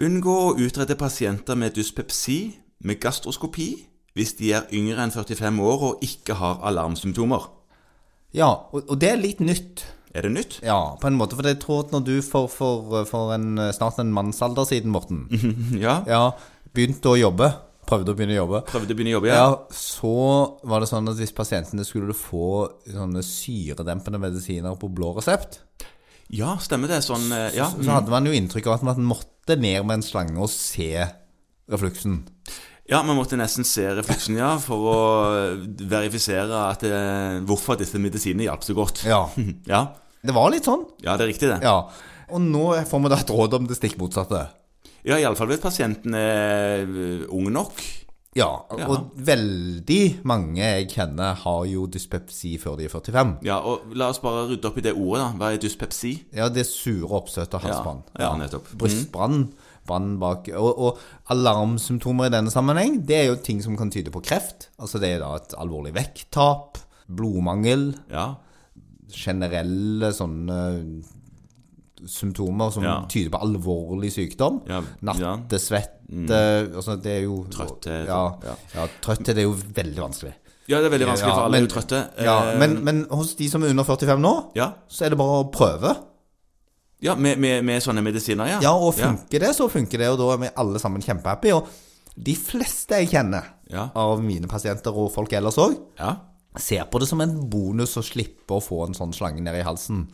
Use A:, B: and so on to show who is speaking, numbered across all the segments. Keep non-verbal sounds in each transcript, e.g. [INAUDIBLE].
A: Unngå å utrede pasienter med dyspepsi med gastroskopi hvis de er yngre enn 45 år og ikke har alarmsymptomer.
B: Ja, og, og det er litt nytt.
A: Er det
B: [LAUGHS]
A: nytt?
B: Ja, på en måte. For jeg tror at når du for, for, for en, eh, snart en mannsalder siden, Morten,
A: Ja.
B: ja, begynte å jobbe, prøvde å begynne å jobbe,
A: Prøvde å begynne å jobbe, ja.
B: ja, så var det sånn at hvis pasientene skulle få sånne syredempende medisiner på blå resept,
A: Ja, stemmer det. Sånn, eh, ja.
B: så hadde man jo inntrykk av at man måtte ned med en slange og se refluksen.
A: Ja, man måtte nesten se refluksen, ja, for å eh, verifisere at eh, hvorfor disse medisinene hjalp så godt. Mhm.
B: Ja,
A: Ja.
B: det var litt sånn.
A: ja, det er riktig, det.
B: Ja, og nå får vi da et råd om det stikk motsatte.
A: Ja, i alle iallfall hvis pasienten er eh, ung nok.
B: Ja, og veldig mange jeg kjenner har jo dyspepsi før de er 45.
A: Ja, og La oss bare rydde opp i det ordet. da. Hva er dyspepsi?
B: Ja, det er sure oppstøt og halsbrann.
A: Ja, ja, nettopp. Mm.
B: Brystbrann, brann bak og, og alarmsymptomer i denne sammenheng, det er jo ting som kan tyde på kreft. Altså det er da et alvorlig vekttap, blodmangel,
A: Ja,
B: generelle sånne eh, symptomer som
A: Ja.
B: tyder på alvorlig sykdom.
A: Ja, Mm.
B: Nattesvett altså Det er jo
A: Trøtthet,
B: Ja,
A: ja.
B: ja. trøtthet er jo veldig vanskelig.
A: ja det er veldig vanskelig,
B: Ja,
A: for alle er
B: men-
A: jo trøtte.
B: Ja,
A: Eh,
B: men, men hos de som er under 45 nå,
A: ja,
B: så er det bare å prøve.
A: ja med, med, med sånne medisiner, ja.
B: Ja, og funker det, så funker det, og da er vi alle sammen kjempehappy. Og de fleste jeg kjenner
A: Ja.
B: av mine pasienter og folk ellers òg,
A: Ja.
B: ser på det som en bonus å slippe å få en sånn slange ned i halsen.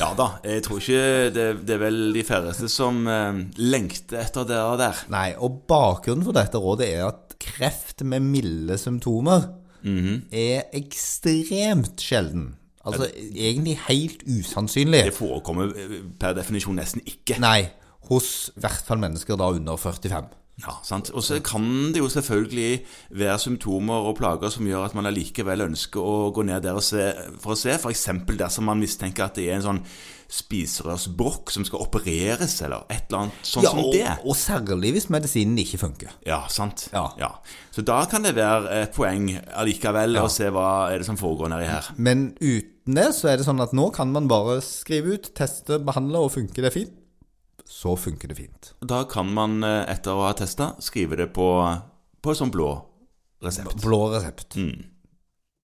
A: ja da. Jeg tror ikke det, det er vel de færreste som eh, lengter etter det der.
B: Nei, og bakgrunnen for dette rådet er at kreft med milde symptomer
A: Mhm.
B: er ekstremt sjelden. Altså egentlig helt usannsynlig.
A: Det forekommer eh, per definisjon nesten ikke.
B: Nei, hos i hvert fall mennesker da under 45.
A: Ja, sant? Og så kan det jo selvfølgelig være symptomer og plager som gjør at man allikevel ønsker å gå ned der og se, for å se. F.eks. dersom man mistenker at det er en sånn spiserørsbrokk som skal opereres, eller et eller annet sånn som
B: og,
A: det.
B: og særlig hvis medisinen ikke funker.
A: Ja, sant?
B: Ja.
A: Så da kan det være et poeng allikevel å se hva er det som foregår nedi her.
B: Men uten det så er det sånn at nå kan man bare skrive ut, teste, behandle, og funker det fint, så funker det fint.
A: Da kan man eh, etter å ha testa skrive det på, på en sånn blå resept.
B: Blå resept.